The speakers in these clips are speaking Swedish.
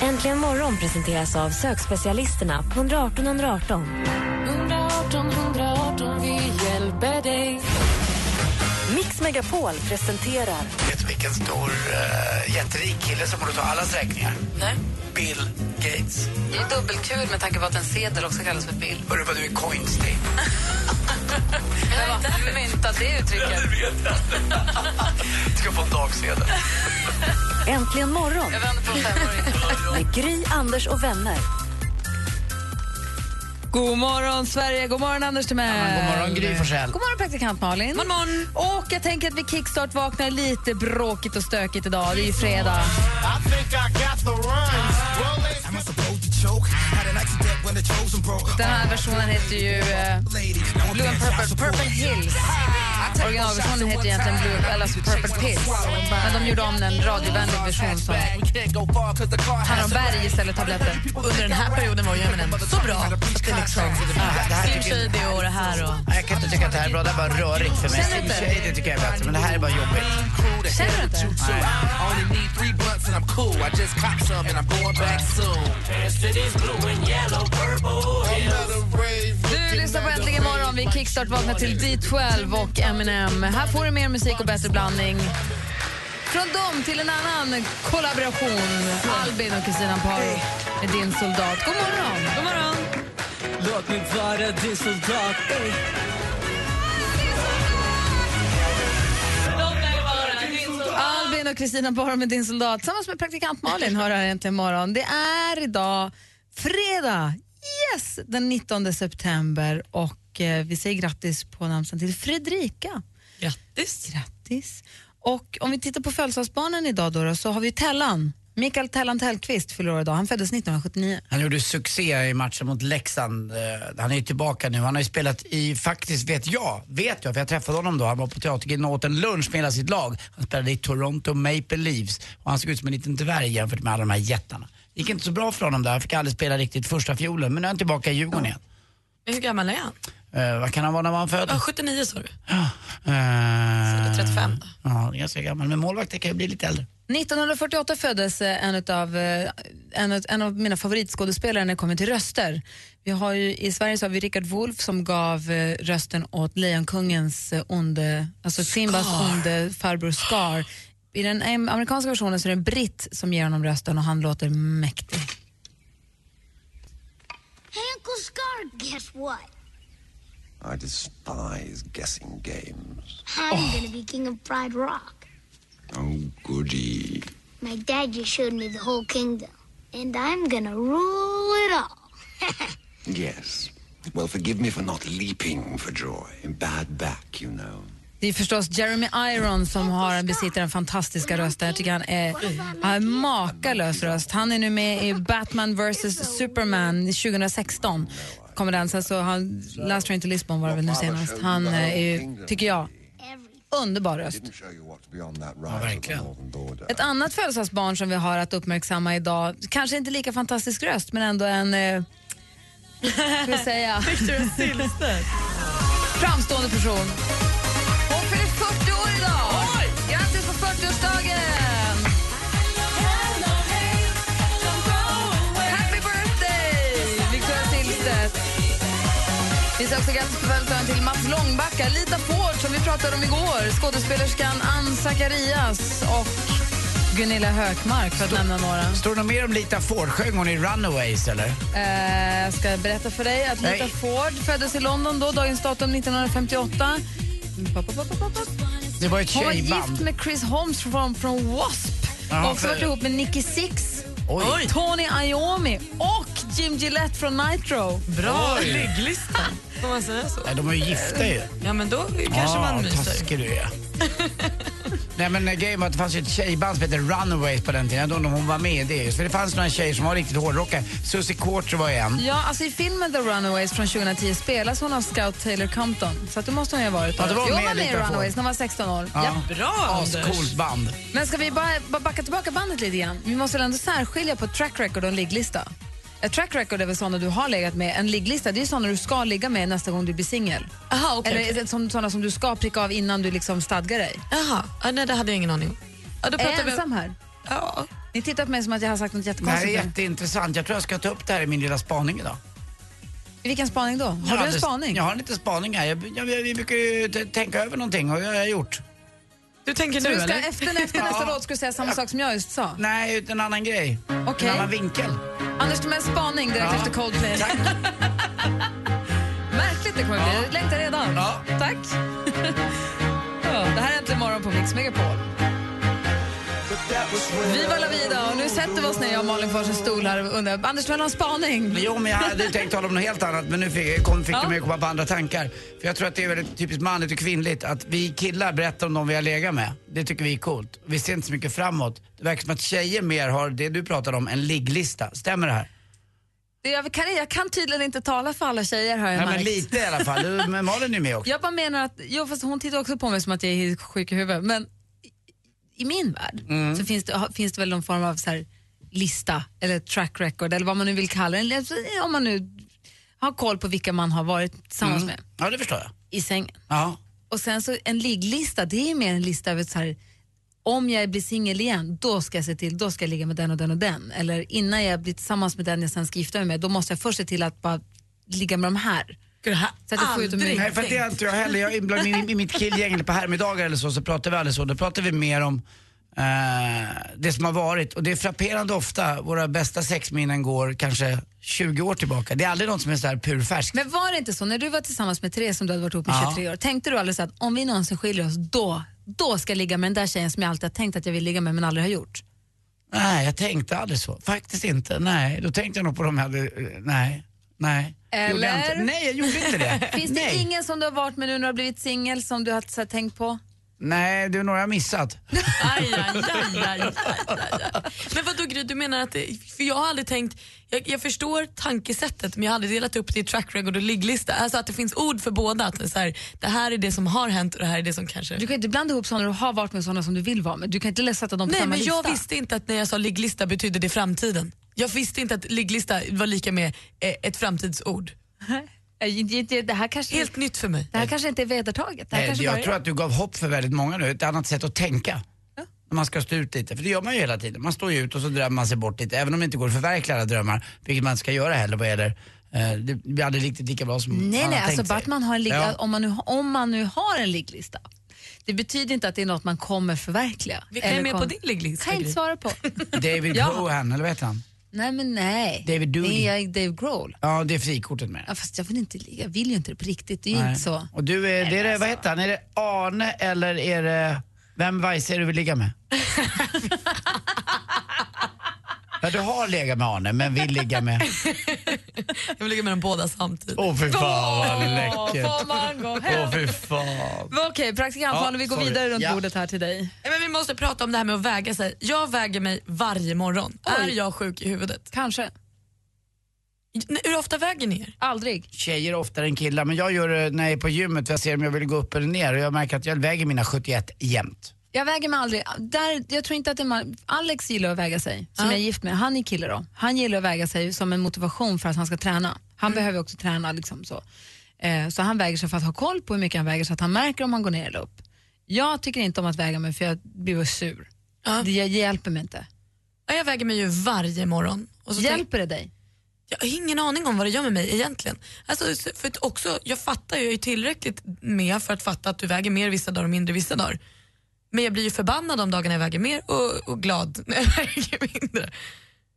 Äntligen morgon presenteras av sökspecialisterna på 118 118. 118 118, vi hjälper dig Mix Megapol presenterar Vet du vilken stor uh, jätterik kille som borde ta allas räkningar? Nej, Bill Gates. det är dubbelkul med tanke på att en sedel också kallas för bild. Hörru vad du är coinstig. Jag har inte myntat det uttrycket. Ska få en dagsedel. Äntligen morgon Jag vänder på femåringen. med Gry, Anders och vänner. God morgon, Sverige! God morgon, Anders Timell! God morgon Gry Forssell. God morgon, praktikant Malin! God morgon. Och jag tänker att vi kickstart vaknar lite bråkigt och stökigt idag. Det är ju fredag. Den här versionen heter ju eh, Blue and Purple, Purple Hills. Originalversionen heter egentligen Blue, eller alltså Purple Pills. Men de gjorde om den radiovänlig version som handlar om berg istället tabletter. Under den här perioden var ju Eminem så bra. Att det liksom, Ja, det här Slim tycker jag, Shady och det här. Och, Nej, jag kan inte tycka att det här är bra. Det här är bara rörigt för mig. Känner du inte? Shady tycker jag är bättre, men det här är bara jobbigt. känner du inte? Du lyssnar på Äntligen morgon. Vi kickstart vaknar till D12 och Eminem. Här får du mer musik och bättre blandning. Från dem till en annan kollaboration. Albin och Kristina Paro med Din soldat. God morgon! God morgon! Låt mig vara din soldat ey. Albin och Kristina Paro med Din soldat tillsammans med praktikant Malin hör här Äntligen morgon. Det är idag fredag, yes, den 19 september och eh, vi säger grattis på namnsdagen till Fredrika. Grattis. Grattis. Och om vi tittar på födelsedagsbarnen idag då, då så har vi Tellan. Mikael Tellan Tellqvist fyller år idag. Han föddes 1979. Han gjorde succé i matchen mot Leksand. Eh, Han är ju tillbaka nu. Han har ju spelat i, faktiskt vet jag, vet jag, för jag träffade honom då. Han var på Teatergrillen och åt en lunch med hela sitt lag. Han spelade i Toronto Maple Leafs och han såg ut som en liten dvärg jämfört med alla de här jättarna. gick inte så bra för honom där. Han fick aldrig spela riktigt första fiolen, men nu är han tillbaka i Djurgården igen. Hur gammal är han? Eh, vad kan han vara när han född? Ja, 79 sa du. Uh, 35 då. Ja, ganska gammal. Men målvakter kan ju bli lite äldre. 1948 föddes eh, en av, en, utav- en av mina favoritskådespelare när det kommer till röster. Vi har ju, I Sverige så har vi Richard Wolff som gav eh, rösten åt Lejonkungens eh, onde, alltså Simbas onde farbror Scar. I den em, amerikanska versionen så är det en britt som ger honom rösten och han låter mäktig. Hey, Uncle Scar, guess what? I despise guessing games. I'm gonna be king of Pride Rock. Oh goody. My dad just showed me the whole kingdom, and I'm gonna rule it all. Yes. Well, forgive me for not leaping for joy. Bad back, you know. Det är förstås Jeremy Irons som har, besitter den fantastiska rösten. Jag tycker han är han är makalös röst. Han är nu med i Batman vs Superman 2016. Kommer den. Sen så han, Last Train to Lisbon var det väl nu senast. Han eh, är ju, tycker jag, underbar röst. Ja, verkligen. Ett annat födelsedagsbarn som vi har att uppmärksamma idag, kanske inte lika fantastisk röst men ändå en... Eh, ska vi säga? Framstående person. Hon fyller 40 år idag! Grattis på 40-årsdagen! Happy birthday, Victoria Silvstedt! Vi säger också grattis på födelsedagen till Mats Långbacka, Lita Ford som vi pratade om igår, skådespelerskan Ann Zacharias och Gunilla Hökmark för att nämna några. Står det något mer om Lita Ford? Sjöng hon i Runaways eller? Eh, Jag ska berätta för dig att Lita Nej. Ford föddes i London då, dagens datum 1958. Pop, pop, pop, pop, pop. Det var ett Hon var tjejband. gift med Chris Holmes från, från W.A.S.P. Ja, och också för- varit ihop med Nicky Six, Oj. Tony Iommi och Jim Gillette från Nitro. Bra Oj. ligglista. Får man säga så? Nej, de är ju gifta ju. Ja, men då kanske Ah, man myser. taskig du är. Nej men eh, grejen var att det fanns ju ett tjejband som hette Runaways på den tiden. Jag undrar om hon var med i det. För det fanns några tjejer som var riktigt hårdrockare. Susie Quattro var en. Ja, alltså I filmen The Runaways från 2010 spelas hon av scout Taylor Compton. Så att det måste hon ju ha varit. Ja, det var jo, hon hon med var med i lite på. Runaways när hon var 16 år. Ja. Japp. Bra, Anders. Ascoolt band. Men ska vi bara, bara backa tillbaka bandet lite grann? Vi måste väl ändå särskilja på ett track record och en ligglista? Ett track record är väl sådana du har legat med. En ligglista det är ju sådana du ska ligga med nästa gång du blir singel. Aha, okej. Eller okej. okay. sådana som du ska pricka av innan du liksom stadgar dig. Jaha, ja, nej, det hade jag ingen aning om. Ja, då Är pratar jag vi om... ensam här? Ja. Ni tittar på mig som att jag har sagt något Det här är jättekonstigt. nu. jätteintressant. Jag tror jag ska ta upp det här i min lilla spaning idag. Vilken spaning då? Har Jag du en hade- spaning? Jag har en liten spaning här. Jag, jag, jag, vi brukar ju t- tänka över någonting och det har jag gjort. Du tänker Så nu, du ska eller? efter, efter nästa låt ska du säga samma sak som jag just sa? Nej, ut en annan grej. Okej. En annan vinkel. Anders, du med en spaning direkt Ja. efter Coldplay. Märkligt det kommer bli. Jag längtar redan. Ja. Tack. ja, det här är Äntligen morgon på Mix Megapol. Viva la vida! Och nu sätter vi oss ner, jag och Malin, för en stol här och undrar. Anders, du har någon spaning? Jo, men jag hade tänkt tala om något helt annat men nu fick, kom, fick Ja. du mig att komma på andra tankar. För jag tror att det är väldigt typiskt manligt och kvinnligt att vi killar berättar om de vi har legat med. Det tycker vi är coolt. Vi ser inte så mycket framåt. Det verkar som att tjejer mer har det du pratade om, en ligglista. Stämmer det här? Det- Jag kan, jag kan tydligen inte tala för alla tjejer, har jag Nej, märkt. men lite i alla fall. Du- Men Malin är ju med också. Jag bara menar att, jo, fast hon tittar också på mig som att jag är helt sjuk i huvudet. Men i- i min värld så finns det, ha- finns det väl någon form av så här lista eller track record eller vad man nu vill kalla det. Eller Om man nu har koll på vilka man har varit tillsammans med Ja, det förstår jag. i sängen. Ja. Och sen så en ligglista, det är ju mer en lista över så här om jag blir singel igen, då ska jag se till, då ska jag ligga med den och den och den. Eller innan jag blir tillsammans med den jag sen ska gifta mig med, då måste jag först se till att bara ligga med de här. Gud, det här- Så att jag får ut dem ur- Aldrig. Nej, för att det är inte jag heller. Jag, ibland, i, I mitt killgäng eller på härmiddagar eller så, så pratar vi aldrig så. Då pratar vi mer om eh, det som har varit. Och det är frapperande ofta, våra bästa sexminnen går kanske 20 år tillbaka. Det är aldrig något som är så här purfärskt. Men var det inte så när du var tillsammans med Therese som du hade varit ihop med Ja. 23 år, tänkte du aldrig så att om vi någonsin skiljer oss då, då ska jag ligga med den där tjejen som jag alltid har tänkt att jag vill ligga med men aldrig har gjort? Nej, jag tänkte aldrig så. Faktiskt inte. Nej, då tänkte jag nog på de här... eh, Nej, nej. Det gjorde jag Eller? inte. Nej, jag gjorde inte det. Finns nej. det ingen som du har varit med nu när du har blivit singel som du har så här, tänkt på? nej, det är några jag missat. Aj, aj, aj, aj, aj, aj, aj. Men vadå Gry, du menar att, det- för jag har aldrig tänkt, jag, jag förstår tankesättet men jag har aldrig delat upp det i track record och ligglista. Alltså att det finns ord för båda, att det är så här, det här är det som har hänt och det här är det som kanske... Du kan ju inte blanda ihop sådana du har varit med och sådana som du vill vara med. Du kan inte sätta dem på Nej samma men lista. jag visste inte att när jag sa ligglista betyder det framtiden. Jag visste inte att ligglista var lika med eh, ett framtidsord. Äh, det- det- Det här kanske, Helt nytt för mig. det här kanske inte är vedertaget. Det här Nej, kanske bara Eh, jag är- tror att du gav hopp för väldigt många nu, ett annat sätt att tänka. När man ska stå ut lite, för det gör man ju hela tiden. Man står ju ut och så drömmer man sig bort lite, även om det inte går att förverkliga alla drömmar, vilket man inte ska göra heller vad gäller, eh, det blir aldrig riktigt lika bra som Nej, man nej, har tänkt alltså bara sig. att man har en ligg- Ja. om, man nu, om man nu har en ligglista. Det betyder inte att det är något man kommer förverkliga. Vilka Eller är med på kom- din ligglista? kan jag inte Gry? svara på. David Ja. Bohan, eller vad heter han? nej, men nej. David Dooley. Nej, jag är Dave Grohl. Ja, det är frikortet med Ja, fast jag vill, inte, ligga. jag vill ju inte det på riktigt. Det är ju Nej. inte så. Och du, är, det är det, vad heter han? Är det Arne eller är det, vem Weise är det du vill ligga med? ja, du har legat med Arne, men vill ligga med... Jag vill ligga med dem båda samtidigt. Åh fy fan vad läckert. Får man gå hem? Åh fy fan. Okej, praktikant Ja, Malin, vi går sorry. vidare runt Ja. bordet här till dig. Nej, Men vi måste prata om det här med att väga sig. Jag väger mig varje morgon. Oj. Är jag sjuk i huvudet? Kanske. Nej, Hur ofta väger ni er? Aldrig. Tjejer oftare än killar, men jag gör det när jag är på gymmet för jag ser om jag vill gå upp eller ner och jag märker att jag väger mina 71 jämt. Jag väger mig aldrig. Där, jag tror inte att det är man, Alex gillar att väga sig, som Ja. jag är gift med. Han är kille då. Han gillar att väga sig som en motivation för att han ska träna. Han behöver ju också träna. Liksom så. Eh, så han väger sig för att ha koll på hur mycket han väger så att han märker om han går ner eller upp. Jag tycker inte om att väga mig för jag blir bara sur. Ja. Det hj- hjälper mig inte. Ja, Jag väger mig ju varje morgon. Och så tänk, Hjälper det dig? jag har ingen aning om vad det gör med mig egentligen. Alltså, så- för att också, jag fattar ju, jag är tillräckligt med för att fatta att du väger mer vissa dagar och mindre vissa dagar. Men jag blir ju förbannad om dagarna jag väger mer och, och glad när jag väger mindre.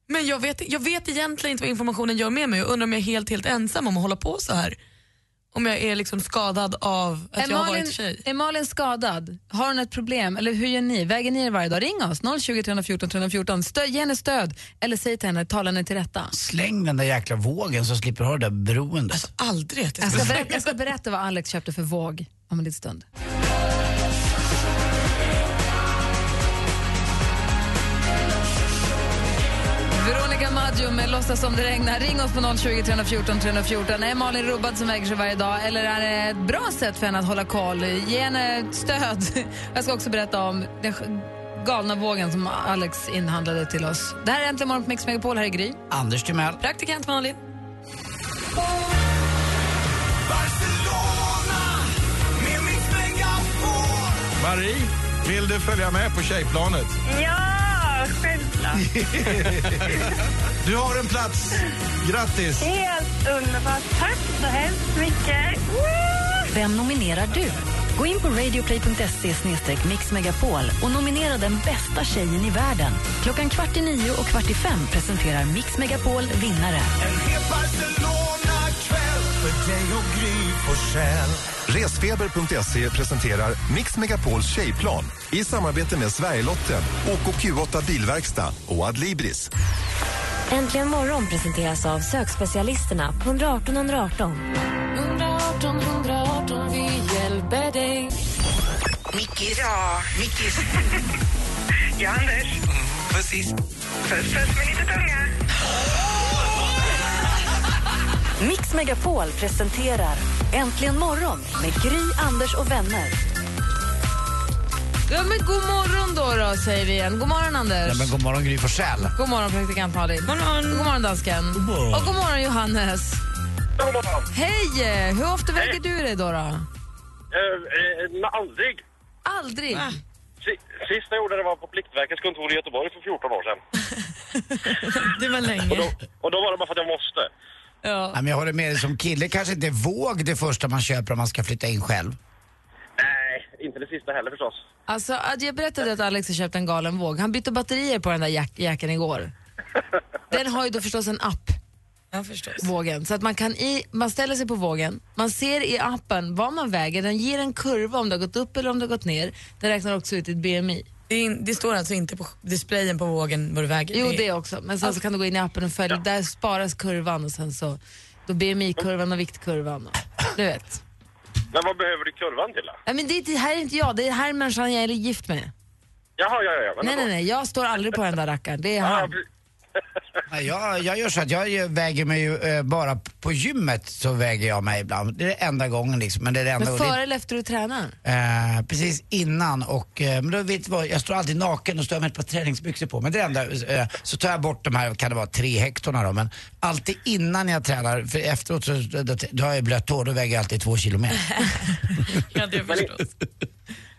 Men jag vet, jag vet egentligen inte vad informationen gör med mig och undrar om jag är helt, helt ensam om att hålla på så här. om jag är liksom skadad av att Är jag har Malin- varit tjej. Är Malin skadad? Har hon ett problem? Eller hur gör ni? Väger ni er varje dag? Ring oss, 020 314 314. Stö, ge henne stöd eller säg till henne, tala henne till rätta. Släng den där jäkla vågen så slipper du ha det där beroendet. Aldrig att Jag jag ska, ska berätta, jag ska berätta vad Alex köpte för våg om en liten stund. Veronica Maggio med Låtsas som det regnar. Ring oss på 020 314 314. Är Malin rubbad som väger sig varje dag eller är det ett bra sätt för henne att hålla koll? Ge henne stöd. Jag ska också berätta om den sj- galna vågen som Alex inhandlade till oss. Det här är Äntligen morgon på Mix Megapol. Här är Gry. Anders Timell. Praktikant Malin. Marie, vill du följa med på tjejplanet? Ja, självklart. Du har en plats. Grattis! Helt underbart. Tack så hemskt mycket. Vem nominerar du? Gå in på radioplay.se mixmegapol och nominera den bästa tjejen i världen. Klockan kvart i nio och kvart i fem presenterar Mix Megapol vinnare. Resfeber.se presenterar Mix Megapols tjejplan i samarbete med Sverigelotten, OKQ8 Bilverkstad och Adlibris. Äntligen morgon presenteras av sökspecialisterna på 118 118. 118 118, vi hjälper dig. Mickis. Ja, Mickis. Ja, Anders. Precis. Puss, puss med lite tunga. Mix Megapol presenterar Äntligen morgon med Gry, Anders och vänner. Ja, men god morgon då, då, säger vi igen. God morgon, Anders. Ja, men god morgon Gry Forssell. God morgon, praktikant Malin. God morgon, god morgon dansken. God morgon. Och god morgon, Johannes. Hej! eh, Hur ofta väger du dig då? då? Eh, eh, men aldrig. Aldrig? Si- Sist jag gjorde det var på Pliktverkets kontor i Göteborg för 14 år sedan. det var länge. Och då, och då var det bara för att jag måste. Ja. men jag håller med dig, som kille kanske inte våg det första man köper om man ska flytta in själv. Nej, inte det sista heller förstås. Alltså, att jag berättade att Alex har köpt en galen våg. Han bytte batterier på den där jack- jackan igår. Den har ju då förstås en app. Vågen. Så att man, kan i, man ställer sig på vågen, man ser i appen vad man väger, den ger en kurva om det har gått upp eller om det har gått ner. Den räknar också ut ditt BMI. Det, är in, det står alltså inte på displayen på vågen vad du väger. Jo, det också. Men sen så kan du gå in i appen och följa. Där sparas kurvan och sen så då BMI-kurvan och viktkurvan. Och, du vet. Men vad behöver du kurvan till då? Nej, men det, är- det här är inte jag. Det är här människan jag är gift med. Jaha, ja, ja, ja. men Nej, ändå. nej, nej. Jag står aldrig på den där rackaren. Det är han. Nej, Jag, jag gör så att jag ju- väger mig ju eh, bara p- på gymmet så väger jag mig ibland. Det är det enda gången liksom. Men det är det enda Men och det- före eller efter du tränar? Eh, precis innan och eh, men då vet du vad, jag står alltid naken och står med ett par träningsbyxor på. Men det enda, eh, så tar jag bort de här, kan det vara tre hektorna då, men alltid innan jag tränar, för efteråt så då, då, då har jag blött hår, då väger jag alltid två kilo mer. Men i-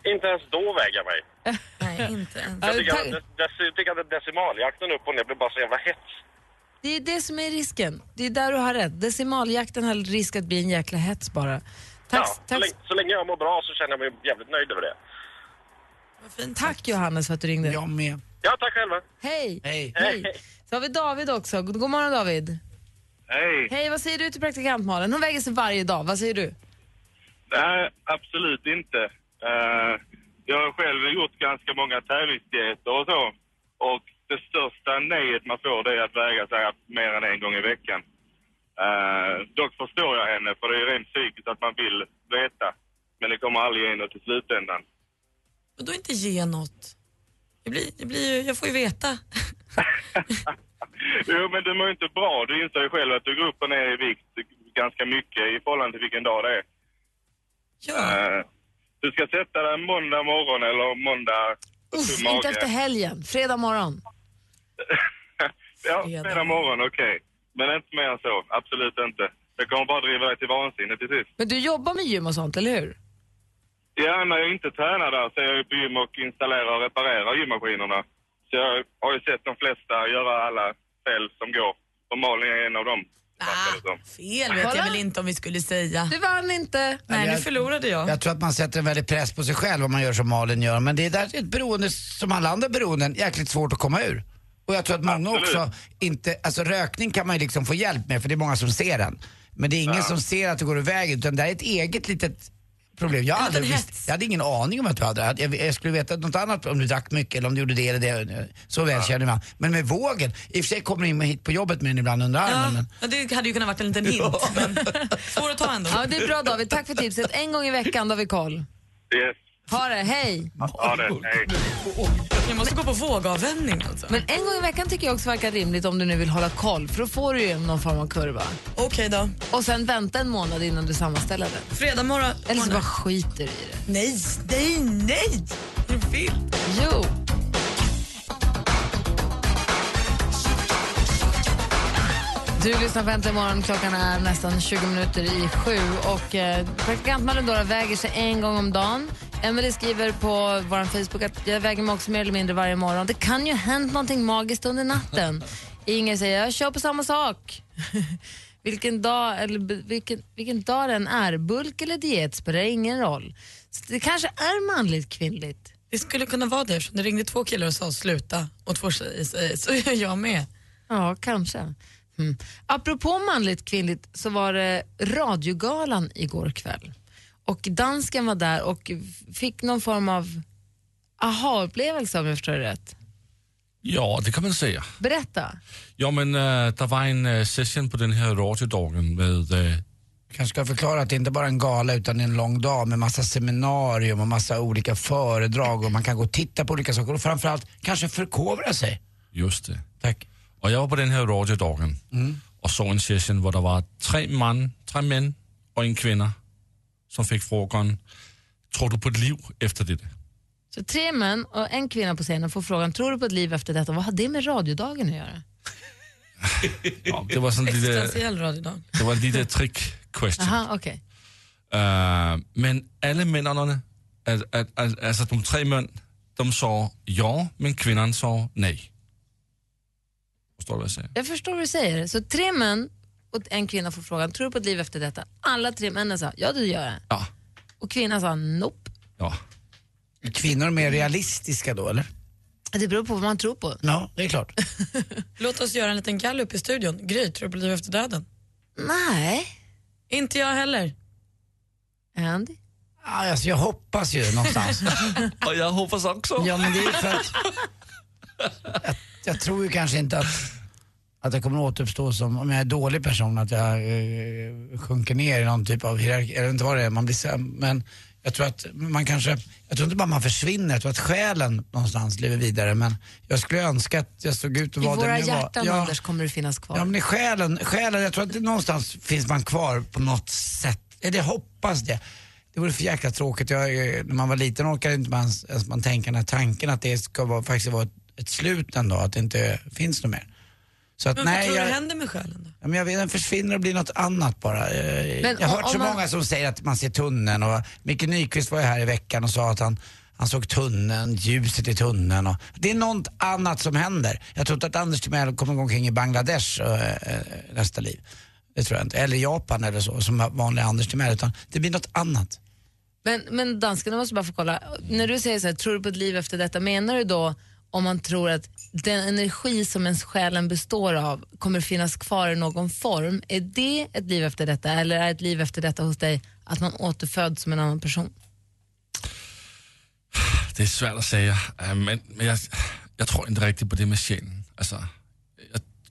inte ens då väger jag mig. Nej, inte ens. Jag tycker, att, dec- jag tycker att decimaljakten upp och ner blir bara så jävla hets. Det är det som är risken. Det är där du har rätt. Decimaljakten har risk att bli en jäkla hets bara. Tack, ja, Så, länge, så länge jag mår bra så känner jag mig jävligt nöjd över det. tack Johannes för att du ringde. Jag med. Ja, tack själva. Hej. Hej. Hej. Så har vi David också. God god morgon David. Hej. Hej, vad säger du till praktikant Malin? Hon väger sig varje dag. Vad säger du? Nej, absolut inte. Eh, jag har själv gjort ganska många tävlingsdieter och så. Och det största nejet man får det är att väga sig mer än en gång i veckan. Eh, dock förstår jag henne, för det är ju rent psykiskt att man vill veta. Men det kommer aldrig ge något i slutändan. Och då inte ge något. Det blir, det blir ju, jag får ju veta. Jo, men du mår ju inte bra. Du inser ju själv att du går upp och ner i vikt ganska mycket i förhållande till vilken dag det är. Eh, du ska sätta dig måndag morgon eller måndag... Uff, full mage. inte efter helgen. Fredag morgon. Ja, fredag morgon, okej. Men inte mer än så. Absolut inte. Jag kommer bara driva dig till vansinne till sist. Men du jobbar med gym och sånt, eller hur? Ja, när jag inte tränar där så är jag ju på gym och installerar och reparerar gymmaskinerna. Så jag har ju sett de flesta göra alla fel som går. Och Malin är en av dem. Ah, Fel vet jag väl inte om vi skulle säga. Du vann inte. Nej, Jag- nu förlorade jag. Jag tror att man sätter en väldig press på sig själv om man gör som Malin gör. Men det är där ett beroende, som alla andra beroenden, jäkligt svårt att komma ur. Och jag tror att många också inte, alltså rökning kan man ju liksom få hjälp med för det är många som ser den. Men det är ingen Ja. som ser att du går iväg utan det här är ett eget litet problem. Jag, hade visst, jag hade ingen aning om att du hade det. här. Jag, jag skulle veta något annat om du drack mycket eller om du gjorde det eller det. Så väl känner man. Men med vågen, i och för sig kommer du in hit på jobbet med den ibland under armen. Men, Ja, det hade ju kunnat varit en liten hint. Men svår att ta ändå. Ja, det är bra David. Tack för tipset. En gång i veckan då har vi koll. Yes. Ha det, hej! Ha det, hej. Jag måste gå på vågavvänjning alltså. Men en gång i veckan tycker jag också verkar rimligt om du nu vill hålla koll, för då får du ju någon form av kurva. Okej då. Och sen vänta en månad innan du sammanställer den. Fredag morgon. Eller så bara skiter i det. Nej, nej, nej! Du vill. Jo. Du lyssnar på Äntligen morgon. Klockan är nästan 20 minuter i sju. Och eh, praktikant Malindora väger sig en gång om dagen. Emily skriver på vår Facebook att jag väger mig också mer eller mindre varje morgon. Det kan ju ha hänt någonting magiskt under natten. Inger säger jag kör på samma sak. vilken, dag, eller, b- vilken, vilken dag den är, bulk eller diet spelar ingen roll. Så det kanske är manligt kvinnligt. Det skulle kunna vara det eftersom det ringde två killar och sa sluta och två tjejer säger så är jag med. Ja, kanske. Mm. Apropå manligt kvinnligt så var det radiogalan igår kväll. Och dansken var där och fick någon form av aha-upplevelse om jag förstår det rätt. Ja, det kan man säga. Berätta. Jo, men eh, det var en eh, session på den här radiodagen med... eh, kanske ska förklara att det inte bara är en gala utan en lång dag med massa seminarium och massa olika föredrag och man kan gå och titta på olika saker och framförallt kanske förkovra sig. just det. Tack. Och jag var på den här radiodagen Mm. och såg en session där det var tre, man, tre män och en kvinna som fick frågan, tror du på ett liv efter det? Så tre män och en kvinna på scenen får frågan, tror du på ett liv efter detta? Vad har det med radiodagen att göra? Ja, det var sådan lite, Existentiell radiodag. det var lite trick question. Aha, okej. Øh, men alle mændene, al, al, al, altså de tre mænd, de sa ja, men kvinderne sa nej. Forstår du, hvad jeg siger? Jag förstår vad du säger. Så tre män och en kvinna får frågan, tror du på ett liv efter detta? Alla tre männen sa, ja det gör jag. Ja. Och kvinnan sa, nope. Ja. Är kvinnor mer realistiska då eller? Det beror på vad man tror på. Ja, det är klart. Låt oss göra en liten gallup i studion. Gry, tror du på liv efter döden? Nej. Inte jag heller. Andy? Ah, Alltså jag hoppas ju någonstans. Och jag hoppas Alltså. också. Ja men det är ju för att jag, jag tror ju kanske inte att, att jag kommer återuppstå som, om jag är en dålig person, att jag eh, sjunker ner i någon typ av hierarki, eller inte vad det är, man blir sämre. Men jag tror att man kanske, jag tror inte bara man försvinner, jag tror att själen någonstans lever vidare. Men jag skulle önska att jag såg ut och I var våra den jag hjärtan, var. Anders, kommer du finnas kvar. Ja men i själen, själen, jag tror att det någonstans finns man kvar på något sätt. Eller jag hoppas det. Det vore för jäkla tråkigt. Jag, eh, när man var liten orkade inte man ens, ens man tänka den här tanken att det ska vara, faktiskt vara ett, ett slut en dag, att det inte finns något mer. Så att Men vad nej, tror du jag, händer med själen då? ja, men jag vet, den försvinner och blir något annat bara. Eh, Men jag har om- hört så om man- många som säger att man ser tunneln och Micke Nyqvist var ju här i veckan och sa att han han såg tunneln, ljuset i tunneln och det är något annat som händer. Jag tror inte att Anders Timell kommer gå omkring i Bangladesh eh, eh, nästa liv. Det tror jag inte. Eller Japan eller så, som vanliga Anders Timell. Utan det blir något annat. Men, men danskarna måste bara få kolla. När du säger så här, tror du på ett liv efter detta, menar du då om man tror att den energi som ens själen består av kommer finnas kvar i någon form? Är det ett liv efter detta eller är ett liv efter detta hos dig att man återföds som en annan person? Det er svært at sige, øh, men, men jeg, jeg tror ikke rigtigt på det med sjælen. Altså,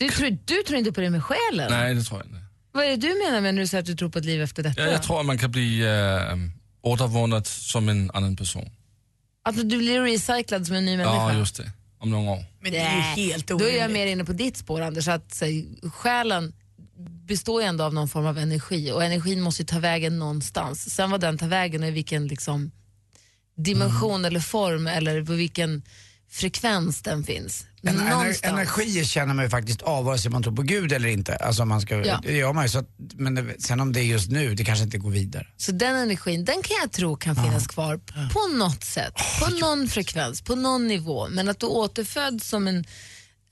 Du tror, du tror inte på det med själen? nej, det tror jeg ikke. Vad är det du menar med när du säger att du tror på ett liv efter detta? Jeg, jeg tror, at man kan blive øh, återvundet som en anden person. Att du blir recyclad som en ny människa? Ja, just det. Om nogle år. Men det är ju Nej. helt Då är jag orimligt. mer inne på ditt spår Anders, att så, själen består ju ändå av någon form av energi och energin måste ju ta vägen någonstans. Sen vad den tar vägen och i vilken liksom, dimension eller form eller på vilken frekvens den finns. Men En, ener, någonstans. energier känner man ju faktiskt av vare sig man tror på Gud eller inte. Alltså om man ska, Ja. Det gör man ju. Så att, men det, sen om det är just nu, det kanske inte går vidare. Så den energin, den kan jag tro kan finnas kvar på något sätt, på någon frekvens, på någon nivå. Men att du återföds som en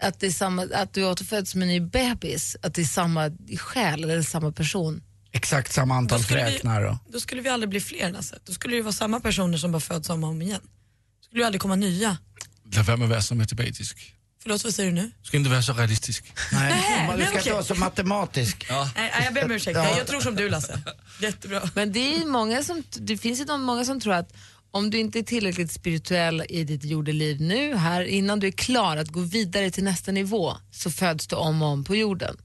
att, det är samma, att du återföds som en ny bebis, att det är samma själ eller samma person. Exakt samma antal skulle vi- fräknar då. Då skulle vi aldrig bli fler Lasse. Då skulle det ju vara samma personer som bara föds om och om igen. Då skulle ju aldrig komma nya. Lad være med at være så matematisk. Förlåt, vad säger du nu? Ska inte vara så realistisk. Nej, Nej, du nej, ska inte okej. vara så matematisk. Nej, nej, jag ber om ursäkt. Nej, Jag tror som du Lasse. Jättebra. Men det, är ju många som, det finns ju de många som tror att om du inte är tillräckligt spirituell i ditt jordeliv nu, här, innan du är klar att gå vidare till nästa nivå, så föds du om och om på jorden.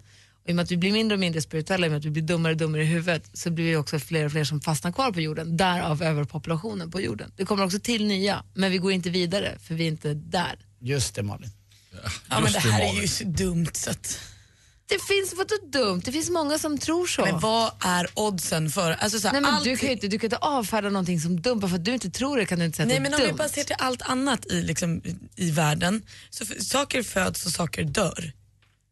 Och I och med att vi blir mindre och mindre spirituella, i och med att vi blir dummare och dummare i huvudet, så blir vi också fler och fler som fastnar kvar på jorden, därav överpopulationen på jorden. Det kommer också till nya, men vi går inte vidare, för vi är inte där. Just det Malin. Ja, men Just det det, här är Malin. ju så dumt så att... Det finns, vadå dumt? Det finns många som tror så. Men vad är oddsen för? Alltså, så här, Nej, men du, allting- kan ju inte, du kan inte avfärda någonting som dumt, bara för att du inte tror det kan du inte säga Nej att det men är om vi dumt. bara ser till allt annat i, liksom, i- i världen, så f- saker föds och saker dör.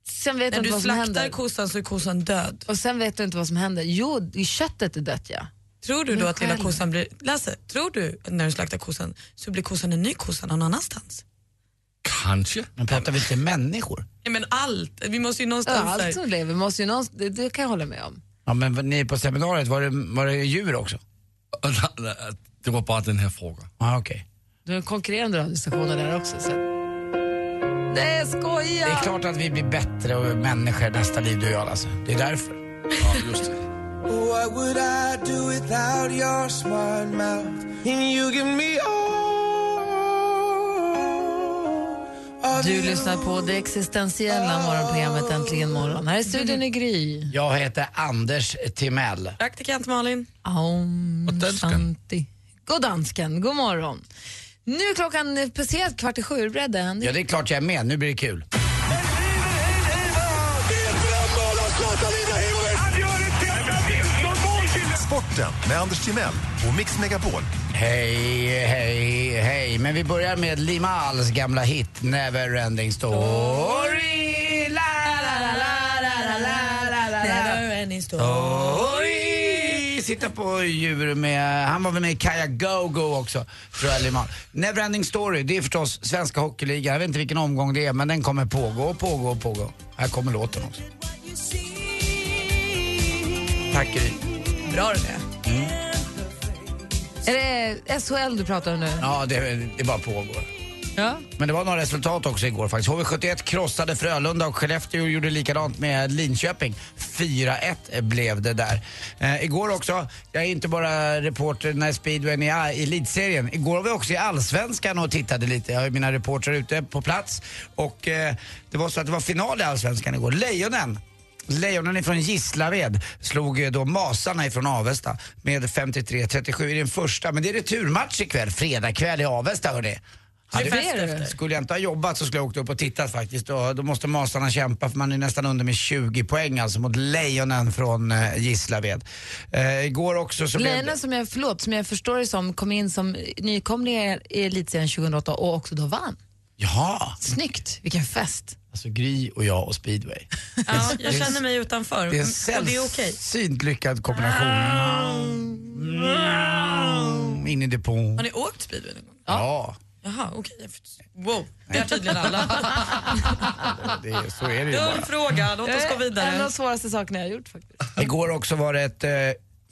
Sen vet När du inte du vad som slaktar händer. kossan så är kossan död. Och sen vet du inte vad som händer. Jo, i köttet är dött ja. Tror du Men då att lilla själv. kossan blir... Lasse, tror du att när du slaktar kossan så blir kossan en ny kossa någon annanstans? Kanske. Men pratar vi inte människor? Nej men allt, vi måste ju Ja, alltså. någonstans... där- allt som lever måste ju någonstans, det, det kan jag hålla med om. Ja, men var ni på seminariet, var det, var det djur också? Det var bara den här frågan. Ah, okej. Du har konkurrerande radiostationer där också. Så. Nej, jag skojar! Det är klart att vi blir bättre och människor nästa liv, du och jag Lasse. Det är därför. Ja, just det. What would I do without your smart mouth? And you give me all of Du you. lyssnar på det existentiella morgonprogrammet Äntligen morgon. Här i studion är Gry. Jag heter Anders Timell. Praktikant Malin. Om Och dansken. Santi. God dansken, god morgon. Nu är klockan passerat kvart i sju, är du beredd Andy? Ja, det är klart jag är med. Nu blir det kul. Sporten med Anders Timell och Mix Megapol. Hej, hej, hej. Men vi börjar med Limals gamla hit Neverending Story. La, la, la, la, la, la, la, la, la. Never ending story. Story. Sitta på djur med, han var väl med i Kaja Go-Go också, tror jag Limal. Neverending Story, det är förstås svenska hockeyligan. Jag vet inte vilken omgång det är, men den kommer pågå och pågå och pågå. Här kommer låten också. Tack Gry. Bra det är. Är det SHL du pratar om nu? Ja, det, det bara pågår. Ja. Men det var några resultat också igår faktiskt. HV71 krossade Frölunda och Skellefteå gjorde likadant med Linköping. 4-1 blev det där. Eh, igår också, jag är inte bara reporter när speedwayen är i elitserien. Igår var vi också i Allsvenskan och tittade lite. Jag har ju mina reportrar ute på plats. Och eh, det var så att det var final i Allsvenskan igår. Lejonen Lejonen ifrån Gislaved slog eh, då Masarna ifrån Avesta med 53-37 i den första. Men det är returmatch ikväll, fredag kväll i Avesta hörni. Hade Det är fest efter. skulle jag inte ha jobbat så skulle jag åkt upp och tittat faktiskt. Och då måste Masarna kämpa för man är nästan under med 20 poäng alltså mot Lejonen från eh, Gislaved. Eh, igår också så blev det... Lejonen som jag, förlåt, som jag förstår det som kom in som nykomlingar i elitserien 2008 och också då vann. Jaha! Snyggt, vilken fest. Alltså Gry och jag och speedway. Ja, Det är- jag känner mig utanför. Det är en och det är okej. sällsynt lyckad kombination. Mm, In i depån. Har ni åkt speedway någon gång? Ja, Jaha, okej. Jag förstår. Wow, det har tydligen alla. det, är- så är det ju Dum bara. fråga, låt oss gå Eh, En av de vidare. svåraste sakerna jag har gjort faktiskt. Igår också var det ett, eh,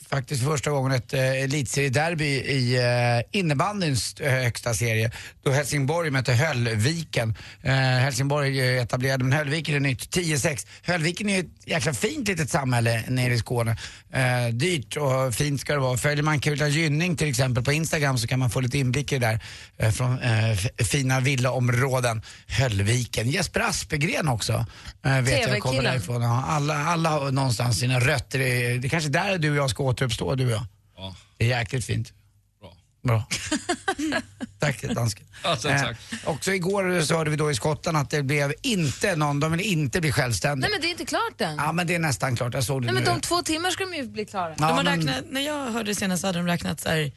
faktiskt för första gången ett eh, elitseriederby i eh, innebandyns eh, högsta serie. Då Helsingborg mötte Höllviken. Eh, Helsingborg eh, etablerade, men Höllviken är nytt. 10-6. Höllviken är ju ett jäkla fint litet samhälle nere i Skåne. Eh, dyrt och fint ska det vara. Följer man Kulan Gynning till exempel på Instagram så kan man få lite inblick i det där eh, från eh, f- fina villaområden. Höllviken. Jesper Aspegren också. eh, vet jag kommer TV-killen. därifrån. Ja, Alla, alla har någonstans sina rötter. i- Det är kanske är där du och jag ska återuppstå, du och jag. Ja. Det är jäkligt fint. Bra. tack dansken. Alltså, tack. Eh, också igår så hörde vi då i Skottland att det blev inte någon, de vill inte bli självständiga. Nej men det är inte klart än. Ja men det är nästan klart, jag såg det Nej men nu. de två timmar ska de ju bli klara. De har men- räknat, när jag hörde det senast hade de räknat så här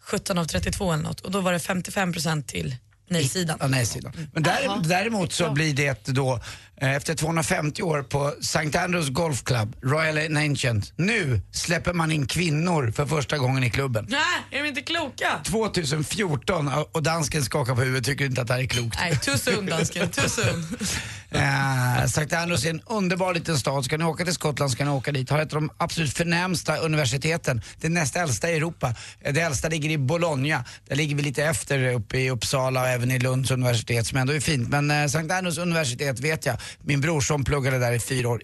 17 av 32 eller något och då var det 55 procent till nej-sidan. Ja, nej-sidan. Men däremot, däremot så blir det då, eh, efter 250 år på St. Andrews Golf Club, Royal and Ancient, nu släpper man in kvinnor för första gången i klubben. Nej, är de inte kloka? 2014 och dansken skakar på huvudet, tycker inte att det här är klokt. Nej, too soon dansken, too soon. Eh, Sankt Andrews är en underbar liten stad. Ska ni åka till Skottland ska ni åka dit. Har ett av de absolut förnämsta universiteten. Det näst äldsta i Europa. Eh, Det äldsta ligger i Bologna. Där ligger vi lite efter uppe i Uppsala och även i Lunds universitet som ändå är fint. Men eh, Sankt Annus universitet vet jag, min brorson pluggade där i fyra år.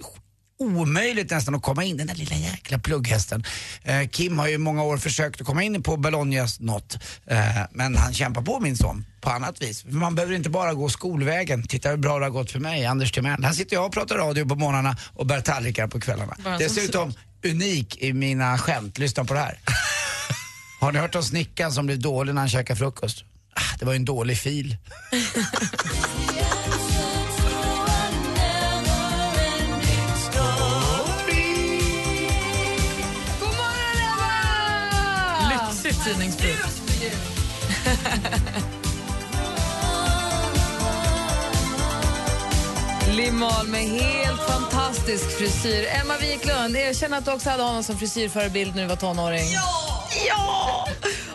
Omöjligt nästan att komma in, den där lilla jäkla plugghästen. Eh, Kim har ju i många år försökt att komma in på Bolognas något, eh, men han kämpar på min son på annat vis. Man behöver inte bara gå skolvägen. Titta hur bra det har gått för mig, Anders Timell. Här sitter jag och pratar radio på morgnarna och bär tallrikar på kvällarna. Bara som Dessutom unik i mina skämt. Lyssna på det här. Har ni hört om snickaren som blev dålig när han käkade frukost? Ah, Det var ju en dålig fil. God morgon, Eva! Lyxigt tidningsbruk. Liv Mahl med helt fantastisk frisyr. Emma Wiklund, erkänn att du också hade honom som frisyrförebild när du var tonåring. Ja! Ja!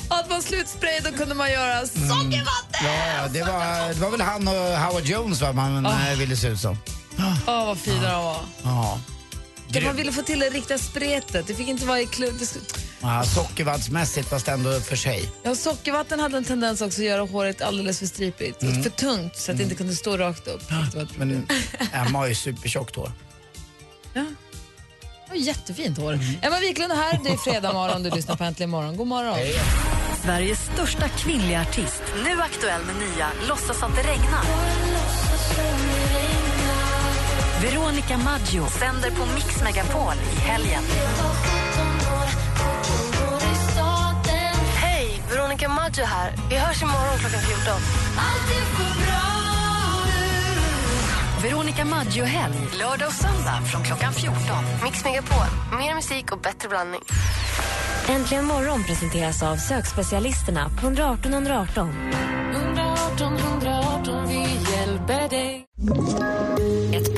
Och att man slutspray, då kunde man göra sockervatten! Ja, det var, det var väl han och Howard Jones va, man Ah. eh, ville se ut som. Åh, vad fina de var. Ja. Ja, Grym. man ville få till det riktiga spretet. Det fick inte vara i klubb. Det skulle- Ja, sockervaddsmässigt fast ändå för sig. Ja, sockervatten hade en tendens också att göra håret alldeles för stripigt. Mm. För tungt, så att det inte kunde stå rakt upp. Det var ett Men Emma har ju supertjockt hår. Det var jättefint hår. Emma Wiklund är här. Det är fredag morgon. Du lyssnar på Äntligen morgon. God morgon. Sveriges största kvinnliga artist. Nu aktuell med nya Låtsas att det regnar. Veronica Maggio sänder på Mix Megapol i helgen. Hej, Veronica Maggio här. Vi hörs imorgon klockan 14. Veronica Maggio-helg, lördag och söndag från klockan 14. Mix Megapol. Mer musik och bättre blandning. Äntligen morgon presenteras av sökspecialisterna på 118 118. 118 118, vi hjälper dig. Ett